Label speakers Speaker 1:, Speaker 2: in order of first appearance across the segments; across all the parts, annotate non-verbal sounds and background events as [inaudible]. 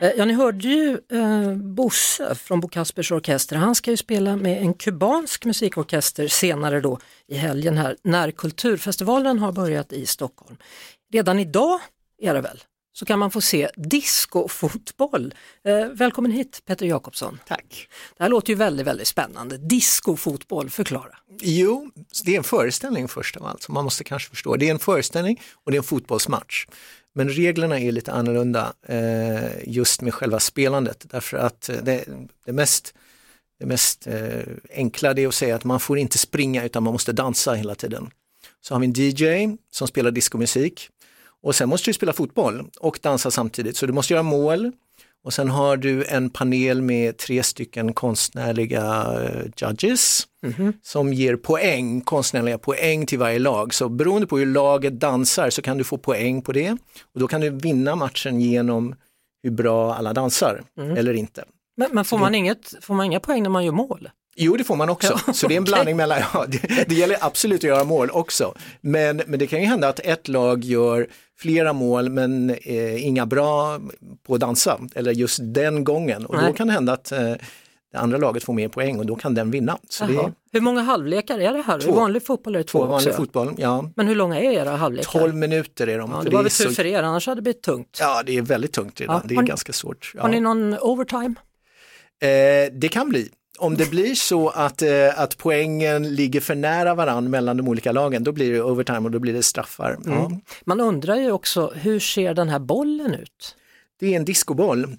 Speaker 1: Eh, Ja, ni hörde ju eh, Bosse från Bo Kaspers Orkester, han ska ju spela med en kubansk musikorkester senare då i helgen här när Kulturfestivalen har börjat i Stockholm. Redan idag är det väl, så kan man få se discofotboll. Eh, välkommen hit Peter Jakobsson.
Speaker 2: Tack.
Speaker 1: Det här låter ju väldigt, väldigt spännande. Discofotboll, förklara.
Speaker 2: Jo, det är en föreställning först av allt, så man måste kanske förstå. Det är en föreställning och det är en fotbollsmatch. Men reglerna är lite annorlunda eh, just med själva spelandet, därför att eh, det, det mest, det mest eh, enkla det är att säga att man får inte springa utan man måste dansa hela tiden. Så har vi en DJ som spelar diskomusik och sen måste du spela fotboll och dansa samtidigt, så du måste göra mål, Och sen har du en panel med tre stycken konstnärliga eh, judges som ger poäng, konstnärliga poäng till varje lag. Så beroende på hur laget dansar så kan du få poäng på det och då kan du vinna matchen genom hur bra alla dansar eller inte.
Speaker 1: Men, men får, man inget, får man inga poäng när man gör mål?
Speaker 2: Jo, det får man också, så det är en blandning mellan, ja, det, det gäller absolut att göra mål också. Men, men det kan ju hända att ett lag gör flera mål men eh, inga bra på att dansa, eller just den gången. Och
Speaker 1: Nej.
Speaker 2: då kan det hända att eh, det andra laget får mer poäng och då kan den vinna. Så det
Speaker 1: Jaha.
Speaker 2: är
Speaker 1: Hur många halvlekar är det här? I
Speaker 2: Två.
Speaker 1: vanlig fotboll är det två,
Speaker 2: två
Speaker 1: också.
Speaker 2: vanlig fotboll, ja.
Speaker 1: Men hur långa är era halvlekar?
Speaker 2: 12 minuter är de.
Speaker 1: Ja,
Speaker 2: för
Speaker 1: det var
Speaker 2: är
Speaker 1: väl tur
Speaker 2: så-
Speaker 1: för er, annars hade det blivit tungt.
Speaker 2: Ja, det är väldigt tungt redan,
Speaker 1: Ja.
Speaker 2: det
Speaker 1: Har
Speaker 2: är
Speaker 1: ni-
Speaker 2: ganska svårt. Ja.
Speaker 1: Har ni någon overtime?
Speaker 2: Eh, det kan bli. Om det blir så att, eh, att poängen ligger för nära varandra mellan de olika lagen, då blir det overtime och då blir det straffar. Mm. Ja.
Speaker 1: Man undrar ju också, hur ser den här bollen ut?
Speaker 2: Det är en discoboll.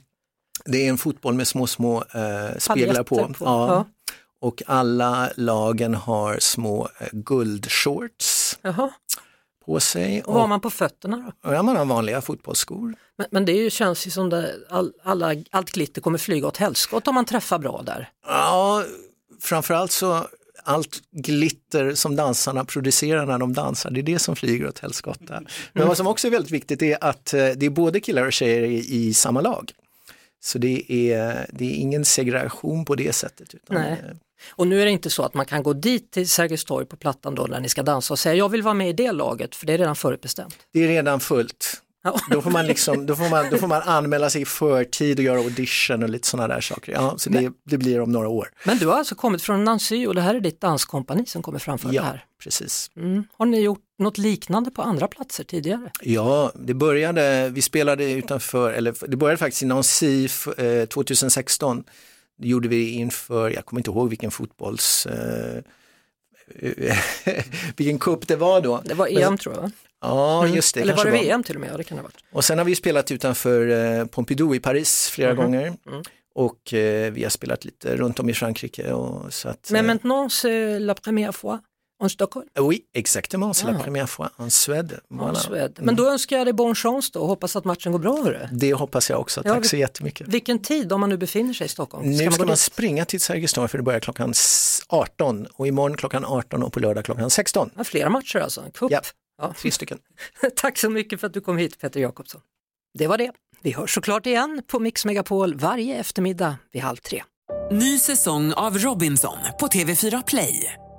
Speaker 2: Det är en fotboll med små, små eh, speglar på.
Speaker 1: Paljetter
Speaker 2: Ja.
Speaker 1: Ja.
Speaker 2: Och alla lagen har små eh, guldshorts
Speaker 1: Jaha.
Speaker 2: på sig.
Speaker 1: Och vad har
Speaker 2: Och,
Speaker 1: man på fötterna då?
Speaker 2: ja, man har vanliga fotbollsskor.
Speaker 1: Men, men det är ju, känns ju som det, all, alla, allt glitter kommer flyga åt helskott om man träffar bra där.
Speaker 2: Ja, framförallt så allt glitter som dansarna producerar när de dansar, det är det som flyger åt helskotta. Men vad som också är väldigt viktigt är att eh, det är både killar och tjejer i, i samma lag. Så det är, det är ingen segregation på det sättet. Utan
Speaker 1: Nej.
Speaker 2: eh,
Speaker 1: Och nu är det inte så att man kan gå dit till Sergels torg på Plattan då när ni ska dansa och säga jag vill vara med i det laget för det är redan förutbestämt.
Speaker 2: Det är redan fullt.
Speaker 1: Ja.
Speaker 2: Då får, man liksom, då, får man, då får man anmäla sig i förtid och göra audition och lite sådana där saker. Ja, så det, det blir om några år.
Speaker 1: Men du har alltså kommit från Nancy och det här är ditt danskompani som kommer framför det
Speaker 2: Ja,
Speaker 1: här.
Speaker 2: precis.
Speaker 1: Mm. Har ni gjort något liknande på andra platser tidigare?
Speaker 2: Ja, det började, vi spelade utanför, eller det började faktiskt i Nancy eh, 2016. Det gjorde vi inför, jag kommer inte ihåg vilken fotbolls, eh, [laughs] vilken cup det var då.
Speaker 1: Det var
Speaker 2: Men-
Speaker 1: EM tror jag. va?
Speaker 2: Ja, just det.
Speaker 1: Eller var
Speaker 2: kanske
Speaker 1: det VM till och med? Ja, det kan det ha varit.
Speaker 2: Och sen har vi spelat utanför eh, Pompidou i Paris flera
Speaker 1: Mhm.
Speaker 2: gånger.
Speaker 1: Mm.
Speaker 2: Och eh, vi har spelat lite runt om i Frankrike. Och, så att,
Speaker 1: Men
Speaker 2: eh,
Speaker 1: maintenant c'est la première fois en Stockholm,
Speaker 2: Oui, exactement, c'est
Speaker 1: Ah.
Speaker 2: la première fois en Suède.
Speaker 1: en
Speaker 2: Voilà.
Speaker 1: Suède. Men då önskar jag dig bon chance då och hoppas att matchen går bra. Hörru.
Speaker 2: Det hoppas jag också,
Speaker 1: Ja,
Speaker 2: tack så
Speaker 1: vi-
Speaker 2: jättemycket.
Speaker 1: Vilken tid om man nu befinner sig i Stockholm?
Speaker 2: Nu ska
Speaker 1: gå
Speaker 2: man,
Speaker 1: dit?
Speaker 2: springa till Sergels torg för det börjar klockan s- 18 och imorgon klockan 18 och på lördag klockan 16.
Speaker 1: ja, flera matcher alltså, en cup.
Speaker 2: Ja.
Speaker 1: Ja. [laughs]
Speaker 2: Tre stycken.
Speaker 1: Tack så mycket för att du kom hit Peter Jakobsson. Det var det. Vi hörs såklart igen på Mix Megapol varje eftermiddag vid halv tre.
Speaker 3: Ny säsong av Robinson på TV4 Play.